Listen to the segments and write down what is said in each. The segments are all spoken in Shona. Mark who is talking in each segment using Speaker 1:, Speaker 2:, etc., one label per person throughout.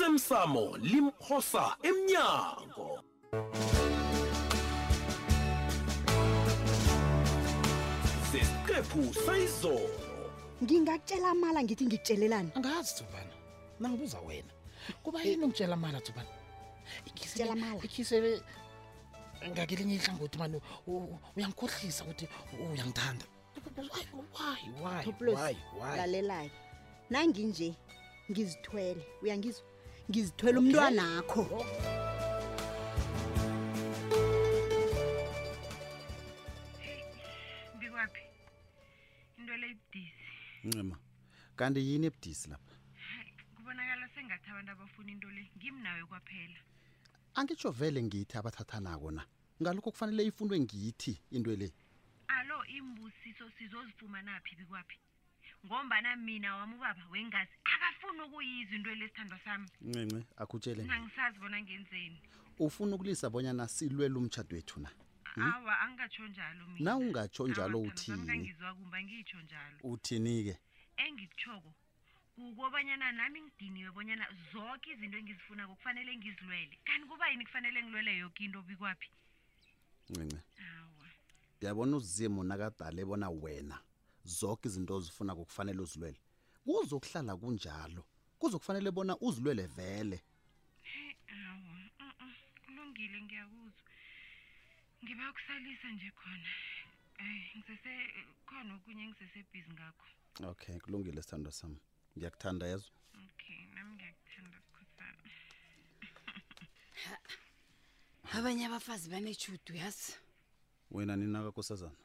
Speaker 1: osemsamo limphosa emnyango sesiqephu sayizolo
Speaker 2: ngingakutshela amala ngithi ngikutshelelani
Speaker 3: angazi thubana nangibuza wena kuba yini ungitshela mala thubana Ikhisi le-
Speaker 2: Tshela mala.
Speaker 3: ikhisi le- ngakelinye ihlangothi mani u- u- uyangikhohlisa ukuthi u- uyangithanda Why, why, why, why, why?
Speaker 2: lalelayo nanginje ngizithwele uyangizwa ngizithwele umntwanakho
Speaker 3: Oh.
Speaker 4: bikwaphi into le ibudisi
Speaker 5: ncema kanti yini ebudisi lapha
Speaker 4: kubonakala sengathi abantu abafuna into le ngimi nawe kwaphela
Speaker 5: angitsho vele ngithi abathathanako na ngalokho kufanele ifundwe ngithi into le
Speaker 4: alo imbusiso sizozifumana phi bikwaphi ngombana mina wami ubaba wengazi akafuni ukuyizwa into lesithandwa sami
Speaker 5: ncence akutshele nje.
Speaker 4: nangisazi bona ngenzeni
Speaker 5: ufuna ukulisa bonyana silwele umtshado wethu na
Speaker 4: awa angingatsho njalo mina
Speaker 5: Na ungatsho njalo
Speaker 4: Awa, sithandwa sami,
Speaker 5: uthini?
Speaker 4: kangizwa kumba ngitsho njalo
Speaker 5: uthini-ke
Speaker 4: engikutshoko kukobanyana nami ngidiniwe bonyana zonke izinto engizifunako kufanele ngizilwele kanti kuba yini kufanele ngilwele yoke into bikwaphi
Speaker 5: ncence
Speaker 4: awa
Speaker 5: uyabona uzimu nakadale bona wena zonke izinto ozifuna kufanele uzilwele kuzokuhlala kunjalo kuzokufanele bona uzilwele vele
Speaker 4: awa uh-uh, kulungile ngiyakuzwa ngiba kusalisa nje khona um ngisese khona okunye ngisesebhizi ngakho
Speaker 5: okay kulungile sithando sami ngiyakuthanda yezo
Speaker 4: okay nami ngiyakuthanda sikhosana
Speaker 6: abanye abafazi banejudu yazi
Speaker 5: wena ninakakosazana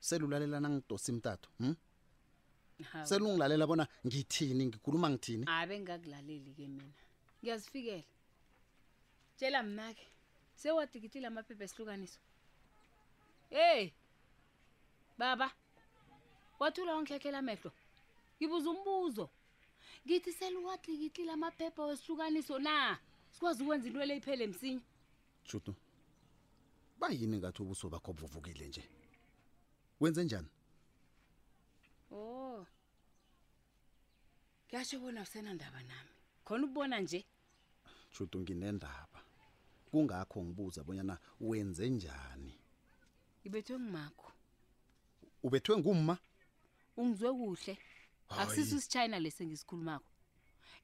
Speaker 5: selulalela nangidosa imtatho hm?
Speaker 6: Hawu.
Speaker 5: selungilalela bona ngithini ngikhuluma ngithini
Speaker 6: abe ngakulaleli-ke mina ngiyazifikela tshela mna-ke sewadikitile amaphepha esihlukaniso heyi baba wathula wangikhekhela amehlo ngibuza umbuzo ngithi seluwatlikitlile amaphepha wesihlukaniso na sikwazi ukwenza into le iphele msinya
Speaker 5: judu bayini ngathi ubuso bakho buvukile nje wenze njani
Speaker 6: o kuyasho Oh. bona usenandaba nami khona ukubona nje
Speaker 5: judu nginendaba kungakho ngibuza bonyana wenze njani
Speaker 6: ngibethwe ngumakho
Speaker 5: ubethwe ngumma
Speaker 6: ungizwe kuhle akusiso isitshayina lesi engisikhulumako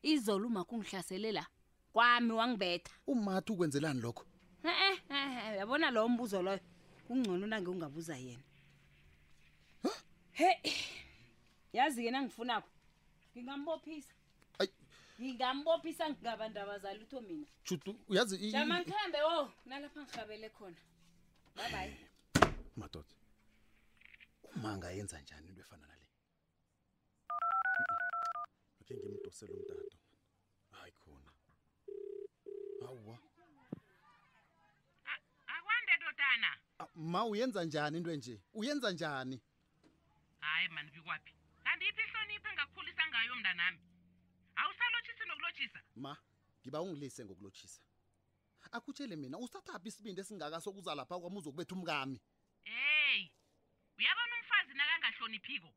Speaker 6: izolo umakho ungihlasele la kwami wangibetha
Speaker 5: umathi ukwenzelani lokho
Speaker 6: e-e e-e, yabona lowo mbuzo loyo kungcono nange ungabuza yena heyi yazi-ke nangifunako ngingambophisa
Speaker 5: ayi
Speaker 6: ngingambophisa ngingabandaba zalutho mina
Speaker 5: judu uyazi i- i-
Speaker 6: jama ngikhambe wo nalapha ngihabele khona babayi
Speaker 5: madoda uma ngayenza njani into efana nale akhe ngimdosele umtato hayi khona hawa
Speaker 4: akwande dodana
Speaker 5: ma uyenza njani into enje uyenza njani
Speaker 4: hayi mani bikwaphi kanti iphi ihlonipho engakukhulisa ngayo mntanami awusalotshisi nokulotshisa
Speaker 5: ma ngiba ungilise ngokulotshisa akutshele mina usathapi isibindi esingaka sokuza lapha kwami uzokubetha umkami
Speaker 4: heyi uyabona umfazi nakangahloniphiko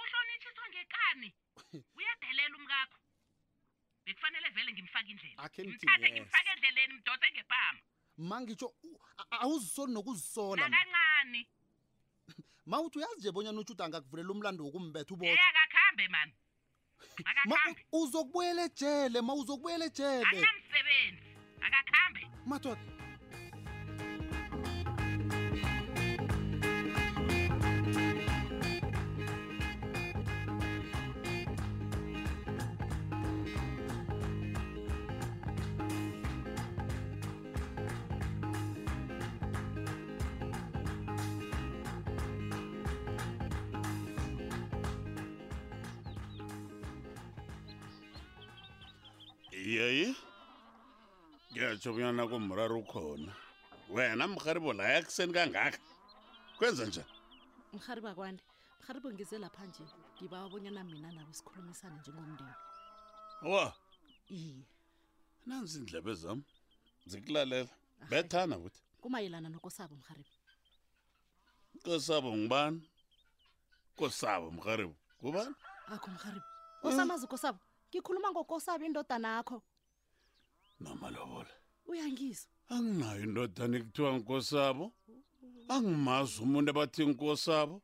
Speaker 4: uhlonitshiswa ngekani uyadelela umkakho bekufanele vele ngimfake indlela
Speaker 5: Akhe nithi
Speaker 4: Ngimthathe
Speaker 5: yes.
Speaker 4: ngimfake endleleni mdose ngepama
Speaker 5: ma ngitsho u- a- a- awuzisoli nokuzisola ma.
Speaker 4: nakancani
Speaker 5: ma uthi uyazi nje bonyana utshuda angakuvulela umlando wokumbetha
Speaker 4: ey
Speaker 5: ubotha
Speaker 4: akakhambe mani
Speaker 5: ma
Speaker 4: akakhambe
Speaker 5: u- uzokubuyela ejele ma uzokubuyela ejele
Speaker 4: akunamsebenzi akakhambe
Speaker 5: madoda
Speaker 7: yeyi ngiyatsho bonyana kumraro ukhona wena mrharibo la ekuseni kangaka kwenza njani
Speaker 8: mhariba kwande mharibo ngize lapha nje ngibawa bonyana mina nawe sikhulumisane njengomndeni
Speaker 7: wa
Speaker 8: iye
Speaker 7: nanzi iindlebe zam zikulalela bethana kuthi
Speaker 8: kumayelana nokosabo mharibo
Speaker 7: kosabo ngubani kosabo mrharibo ngubani
Speaker 8: akho mharibo usamazi kosabo
Speaker 2: ngikhuluma ngokosabo indodana akho
Speaker 7: namalobola
Speaker 8: uyangizwa
Speaker 7: anginayo indodana ekuthiwa nkosabo angimazi umuntu abathi nkosabo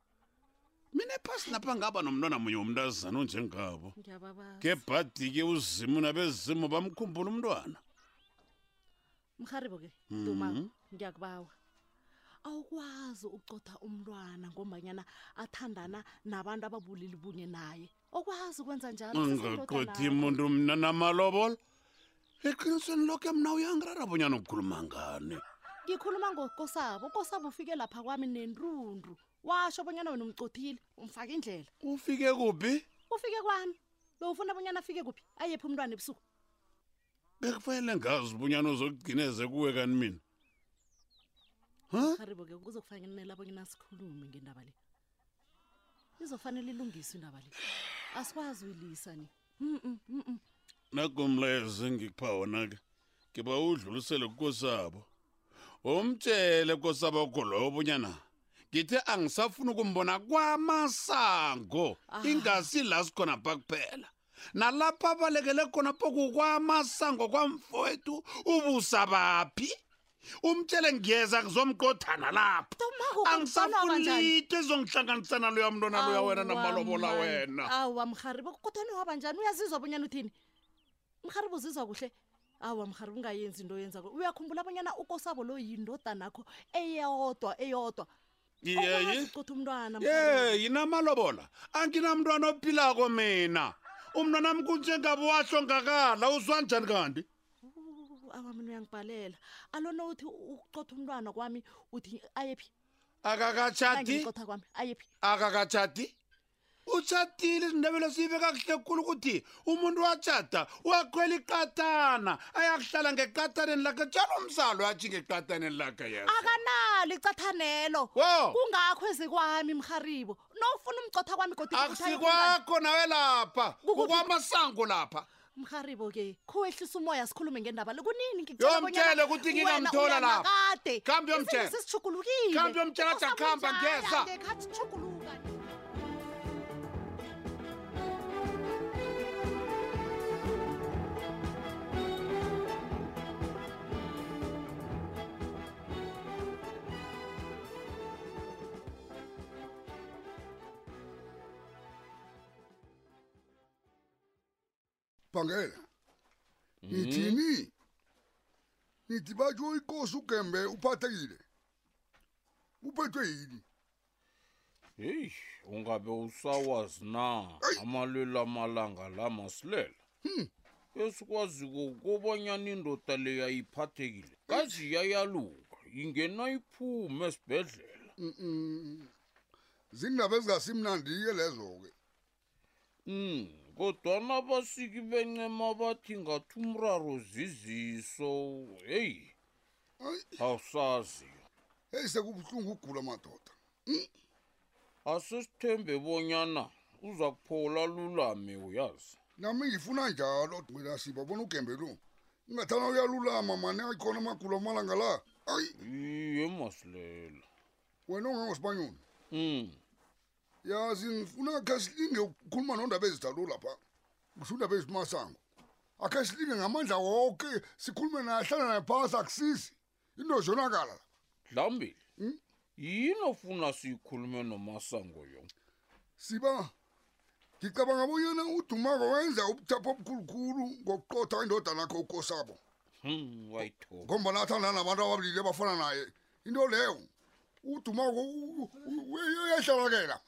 Speaker 7: mina ephasi napha ngaba nomntwana munye womntazana onjengabo
Speaker 8: ngiyababa
Speaker 7: ngebhadi-ke uzimu nabezimu bamkhumbula umntwana
Speaker 8: mharibo ke
Speaker 7: Mhm.
Speaker 8: duma ngiyakubawa awukwazi ukucotha umntwana ngombanyana athandana nabantu ababulili bunye naye okwazi ukwenza njalo
Speaker 7: angaqothi umuntu mna namalobola eqinisweni lokho mna uyangirara bonyana ukhuluma ngani
Speaker 8: ngikhuluma ngokosabo ukosabo ufike lapha kwami nenrundu washo bonyana wena umcothile umfake indlela
Speaker 7: ufike kuphi
Speaker 8: ufike kwami bewufuna bonyana afike kuphi ayephi umntwana ebusuku
Speaker 7: bekufanele ngazi bonyana uzokugcineze kuwe kani mina ha
Speaker 8: haribo ke kuzokufanela bonyana sikhulume ngendaba le izofanele ilungiswe indaba le asikwazi uyilisa ni Mm-mm, mm-mm.
Speaker 7: nagomlayezo engikupha wona-ke ngiba udlulisele kukosabo umtshele kosabo kho lowo bunyana ngithe angisafuni ukumbona kwamasango ingasi la sikhona pha kuphela nalapha abalekele khona pokukwamasango kwamfowethu ubusabaphi umtshele ngiyeza ngizomqothana lapho
Speaker 8: Tomako,
Speaker 7: angisafuni
Speaker 8: kodwana abanjani?
Speaker 7: litho ezongihlanganisa naloya mntwana loya wena namalobola
Speaker 8: Awa, man.
Speaker 7: wena
Speaker 8: awa mharibo kodwani waba njani uyazizwa bonyana uthini mharibo uzizwa kuhle awa mharibo ungayenzi into oyenzako uyakhumbula bonyana ukosabo lo yindodanakho eyodwa eyodwa
Speaker 7: iyeye
Speaker 8: owaziqotha umntwana Mrharibo.
Speaker 7: ye yinamalobola anginamntwana ophilako mina umntwana wami kunjengabo wahlongakala uzwa njani kanti
Speaker 8: Uh, awa mina uyangibhalela alona uthi ukucotha umntwana kwami uthi ayephi
Speaker 7: akakatshati
Speaker 8: angiqotha kwami ayephi
Speaker 7: akakatshati utshatile izindebelo siyibe kakuhle kukhulu ukuthi umuntu watshata wakhwela iqatana ayakuhlala ngeqataneni lakhe tshalo umsalo atshi ngeqataneni lakhe yena
Speaker 8: akanalo icathanelo
Speaker 7: wo
Speaker 8: kungakho ezikwami mharibo nofuna umcotha kwami kodwa ukuthi ayephi umntwana.
Speaker 7: akusikwakho nawe lapha ukwamasango lapha
Speaker 8: mharibo ke khuwehlisa umoya sikhulume ngendaba le kunini
Speaker 7: Yo, mtshele ukuthi ngingamthola lapha. Khambe uyomtshela.
Speaker 8: sisijugulukile
Speaker 7: Khambe uyomtshela athi akhamba, ngeza.
Speaker 8: sijuguluka
Speaker 9: bhangela nithini nithi batsho ikosi ugembe uphathekile uphethwe yini
Speaker 1: heyi ungabe usawazi na amalwelo amalanga la masilela
Speaker 9: Hmm.
Speaker 1: esikwaziko ukobanyana indoda leya iphathekile kazi yayaluka ingena iphume esibhedlela
Speaker 9: zindaba ezingasimnandi-ke lezo-ke
Speaker 1: um kodwana abasiki bencema bathi ngathi umraro ziziso heyi
Speaker 9: Ayi.
Speaker 1: awusazi
Speaker 9: eyi sekubuhlungu ukugula madoda Hmm?
Speaker 1: asesithembe bonyana uza kuphola lulame uyazi
Speaker 9: nami ngifuna njalo mina siba bona ugembe lo ingathana uyalulama mane ayikhona amagulo amalanga la ayi
Speaker 1: iye masilela
Speaker 9: wena ongangosibanyoni
Speaker 1: um
Speaker 9: yazi ngifuna khe silinge ukukhuluma nondaba ezidalo lapha kusho indaba ezimasango akhe silinge ngamandla woke sikhulume naye hlala naye phasi akusizi into zonakala la
Speaker 1: dlambile
Speaker 9: Mm.
Speaker 1: yini ofuna siyikhulume nomasango yo
Speaker 9: siba ngicabanga bonyana udumako wenza ubuthapha obukhulukhulu ngokuqotha indodana yakho ukosabo
Speaker 1: Hmm, wayithoba
Speaker 9: ngombana athanda nabantu ababulili abafana naye into leyo udumako uyahlabakela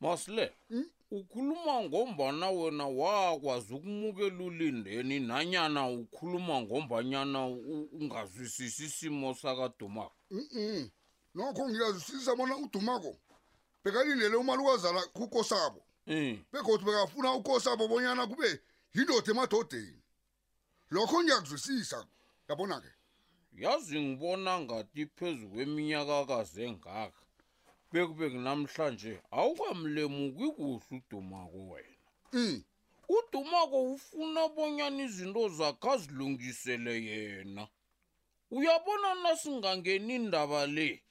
Speaker 1: masilela
Speaker 9: Mm.
Speaker 1: ukhuluma ngombana wena wakwazi ukumukela ulindeni nanyana ukhuluma ngombanyana u- ungazwisisi isimo sakadumako
Speaker 9: Mm-mm. nokho ngiyazwisisa bona udumako bekalindele umalukazana kukosabo
Speaker 1: um
Speaker 9: begodu bekafuna ukosabo bonyana kube yindoda emadodeni lokho ngiyakuzwisisa yabona-ke
Speaker 1: yazi ngibona ngathi phezu kweminyakakazi engaka bekube namhlanje awukamlemuki kuhle udumako wena
Speaker 9: um
Speaker 1: udumako ufuna bonyana izinto zakhe azilungisele yena uyabona nasingangeni indaba le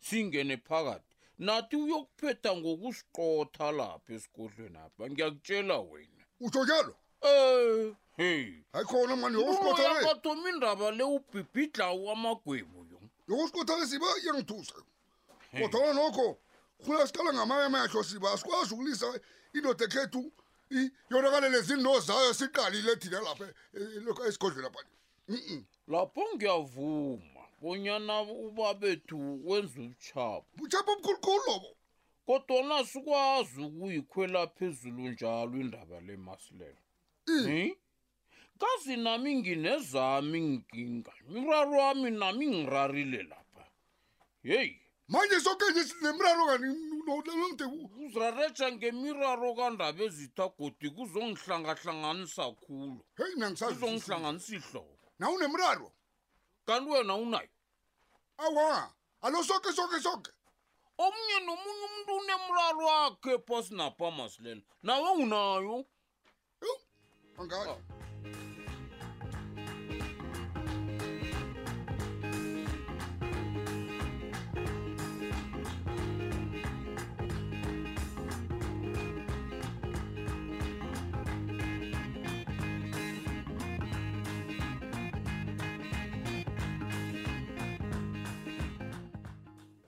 Speaker 1: singene phakathi nathi uyokuphetha ngokusiqotha lapha esikodlweni apha ngiyakutshela wena
Speaker 9: utsho njalo
Speaker 1: Eh, hey.
Speaker 9: hayi khona mani yokusikhothalesa
Speaker 1: yakwathoma indaba le ubhibhidlawo amagwebu yo
Speaker 9: yokusikhothalesiba iyangithusa kodwana nokho khula siqala ngamayamehlo siba asikwazi ukulisa indoda ekhethu i- yonakalele zinto zayo siqalile thina lapha e- e- lokha esigodlweni lapha
Speaker 1: lapho ngiyavuma bonyana ubabethu wenza ubutshapho
Speaker 9: butshapha obukhulukhulu lobo
Speaker 1: kodwana sikwazi ukuyikhwela phezulu njalo indaba le masilelo Hi? kazi nami nginezami nginkinga miraro wami nami ngirarile lapha yeyi
Speaker 9: manje soke nje sinemraro kanti
Speaker 1: uzirareja ngemiraro kandaba ezithagodi kuzongihlangahlanganisa khulu
Speaker 9: heyi mna ngisazi
Speaker 1: kuzongihlanganisa ihloko
Speaker 9: naw unemraro
Speaker 1: kanti wena unayo
Speaker 9: awa alo soke soke soke
Speaker 1: omunye nomunye umntu unemraro wakhe phasi napha masilela nawe unayo
Speaker 9: angayo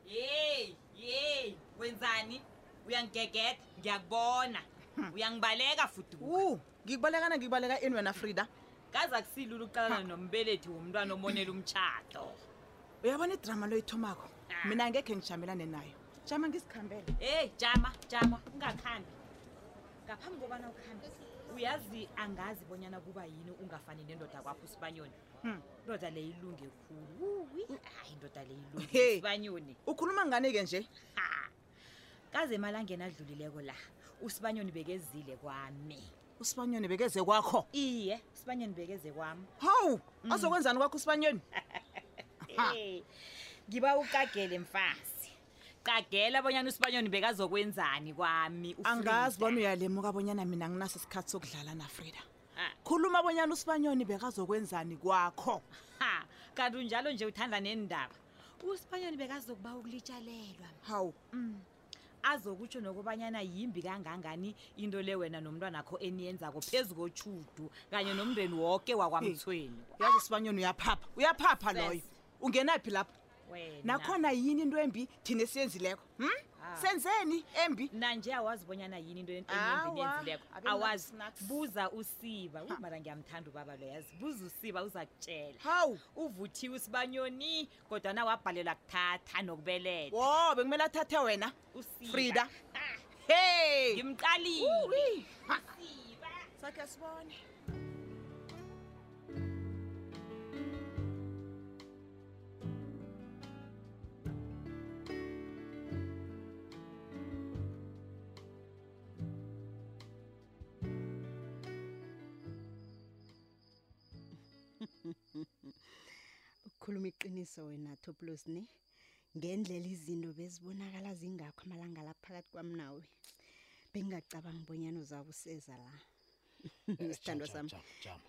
Speaker 10: yeyi yeyi wenzani uyangigegeda ngiyakubona
Speaker 11: Hmm.
Speaker 10: uyangibaleka futhi
Speaker 11: u ngikubalekana ngikubaleka ini wena frida
Speaker 10: kaza kusilula ukuqalana nombelethi womntwana omonela umtshato
Speaker 11: uyabona idrama loyithomako mina ngekhe ngijamelane nayo jama ngisikhambele
Speaker 10: eyi jama jama ungakhambi ngaphambi kobana ukhambi uyazi angazi bonyana kuba yini ungafani nendoda kwapho usibanyoni
Speaker 11: Hmm.
Speaker 10: indoda le ilunge khulu hayi indoda le ilunge
Speaker 11: Hey.
Speaker 10: usibanyoni
Speaker 11: ukhuluma ngani-ke nje
Speaker 10: kaze emalangeni adlulileko la usibanyoni bekezile kwami
Speaker 11: usibanyoni bekeze kwakho
Speaker 10: iye usibanyoni bekeze kwami Mm.
Speaker 11: hawu azokwenzani kwakho usibanyoni Ha.
Speaker 10: Eh, ngiba uqagele mfazi qagela abonyana usibanyoni bekazokwenzani kwami u-Frida.
Speaker 11: angazi bona uyalemuka bonyana mina nginaso isikhathi sokudlala nafrida
Speaker 10: Ah,
Speaker 11: khuluma bonyana usibanyoni bekazokwenzani kwakho
Speaker 10: ha, kanti unjalo nje uthanda nendaba usibanyoni bekazokuba ukulitshalelwa
Speaker 11: hawu
Speaker 10: mm. azokutsho nokubanyana yimbi kangangani into le wena nomntwanakho eniyenzako phezu kotshudu kanye nomndeni woke wakwamthweni
Speaker 11: yazi usibanyoni uyaphapha uyaphapha
Speaker 10: Sesi.
Speaker 11: loyo ungenaphi lapho
Speaker 10: wena
Speaker 11: nakhona yini into embi thina esiyenzileko hm
Speaker 10: Ah.
Speaker 11: senzeni embi
Speaker 10: nanje awazi bonyana yini into en-
Speaker 11: Awa,
Speaker 10: enyimbi nenzileko
Speaker 11: abe
Speaker 10: awazi
Speaker 11: nuts, nuts.
Speaker 10: buza usiba Uy, mara ngiyamthanda ubaba lo yazi buza usiba uza kutshela
Speaker 11: hawu
Speaker 10: uvuthiwe usibanyoni kodwana wabhalelwa kuthatha nokubeletha
Speaker 11: wo bekumele athathe wena
Speaker 10: usiba Ah.
Speaker 11: frida hey
Speaker 10: ngimqalile
Speaker 11: sakhe sibone
Speaker 12: ukukhuluma iqiniso wena toplos ne ngendlela izinto bezibonakala zingakho amalanga la phakathi kwami nawe bengingacabanga ubonyana uzabe useza la
Speaker 3: Eh,
Speaker 12: isithandwa sami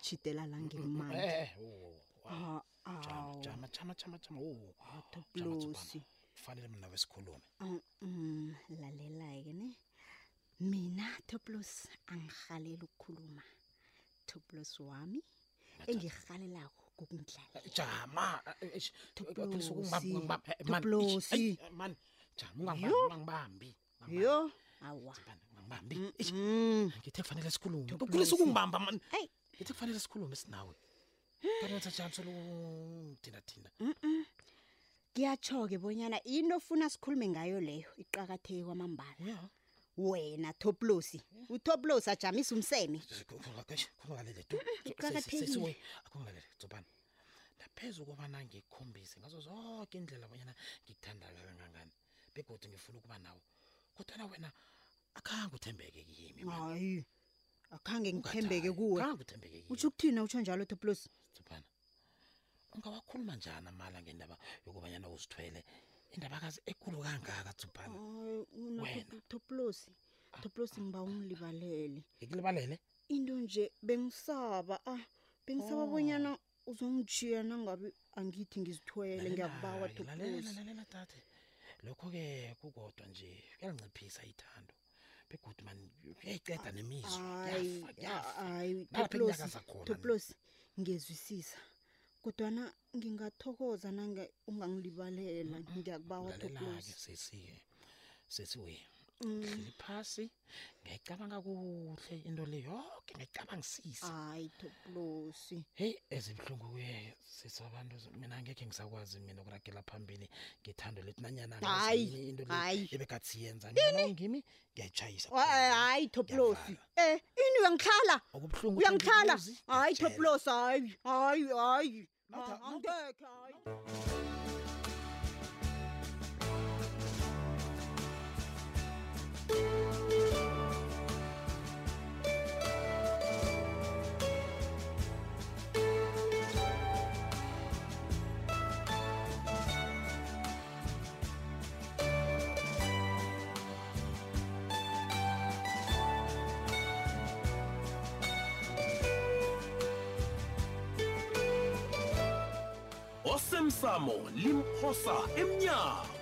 Speaker 12: tshidela la ngelimandla Ah, awu. Toplosi.
Speaker 3: oh. kufanele mna wesikhulume
Speaker 12: Mm, mm, lalela-ke ne mina toplos angirhalela ukukhuluma toplos wami engirhalelako kukundlala
Speaker 3: jama eh,
Speaker 12: Toplosi. Toplosi.
Speaker 3: man jama ungangibambi, ungangibambi ungangibambi.
Speaker 12: yo awa
Speaker 3: ungangibambi
Speaker 12: Mm.
Speaker 3: ngithe kufanele sikhulume
Speaker 12: Toplosi.
Speaker 3: ukhulisa ukungibamba man
Speaker 12: Ayi.
Speaker 3: ngithe kufanele sikhulume sinawe kanetha jam soludinadina
Speaker 12: kuyatsho-ke bonyana into ofuna sikhulume ngayo leyo iqakatheke kwamambala wena toplosi utoplosi ajamisa umseme
Speaker 3: kungakalele tu
Speaker 12: Iqakathekile.
Speaker 3: akungakalele zobana naphezu kobana ngikhombise ngazo zonke indlela abanyana ngikuthanda kangangani begodwa ngifuna ukuba nawe kodwana wena akhange uthembeke kimi man.
Speaker 12: hayi akhange
Speaker 3: Ungathayi,
Speaker 12: ngithembeke kuwe
Speaker 3: akhange uthembeke kimi.
Speaker 12: utsho ukuthina utsho njalo toplosi
Speaker 3: Sithupana. Ungawakhuluma njani amala ngendaba yokubanyana uzithwele? Indaba kazi ekulu kangaka Tsupana. Wena. Ah,
Speaker 12: toplosi toplosi ngiba ungilibalele
Speaker 3: Ngikulibalele.
Speaker 12: into nje bengisaba ah bengisaba
Speaker 3: Oh.
Speaker 12: bonyana uzongijiya nangabe angithi ngizithwele ngiyakubawa
Speaker 3: Lalela,
Speaker 12: toplosi
Speaker 3: Lalela lalela tate. Lokho ke kukodwa nje kuyanciphisa ithando. begodwa mani uyayiceda nemizwa
Speaker 12: Hayi, ah,
Speaker 3: Yafa, yafa.
Speaker 12: hayi,
Speaker 3: Nalapha
Speaker 12: Thoplosi,
Speaker 3: ekunyakaza khona ni.
Speaker 12: Thoplosi, ngiyezwisisa kodwana ngingathokoza nange ungangilibalela ngiyakubawa
Speaker 3: lalela-ke
Speaker 12: Thoplosi
Speaker 3: sesi-ke sesiwe
Speaker 12: Mm.
Speaker 3: hleli phasi ngiyayicabanga kuhle into le yoke ngayicabangisisa
Speaker 12: hayi Thoplosi
Speaker 3: heyi ezibuhlungu-ke sisabantu mina angekhe ngisakwazi mina ukuragela phambili ngithando lethu nanyana
Speaker 12: Hayi,
Speaker 3: angazi yini into le
Speaker 12: hayi.
Speaker 3: ebekathi siyenza mina ngimi ngiyayitshayisa
Speaker 12: Hayi, hayi Thoplosi eh ini uyangihlala
Speaker 3: okubuhlungu
Speaker 12: uyangihlala hayi Thoplosi hayi hayi hayi
Speaker 3: Nawutha-
Speaker 12: Ah, angekhe hayi
Speaker 13: osemsamo limphosa emnyango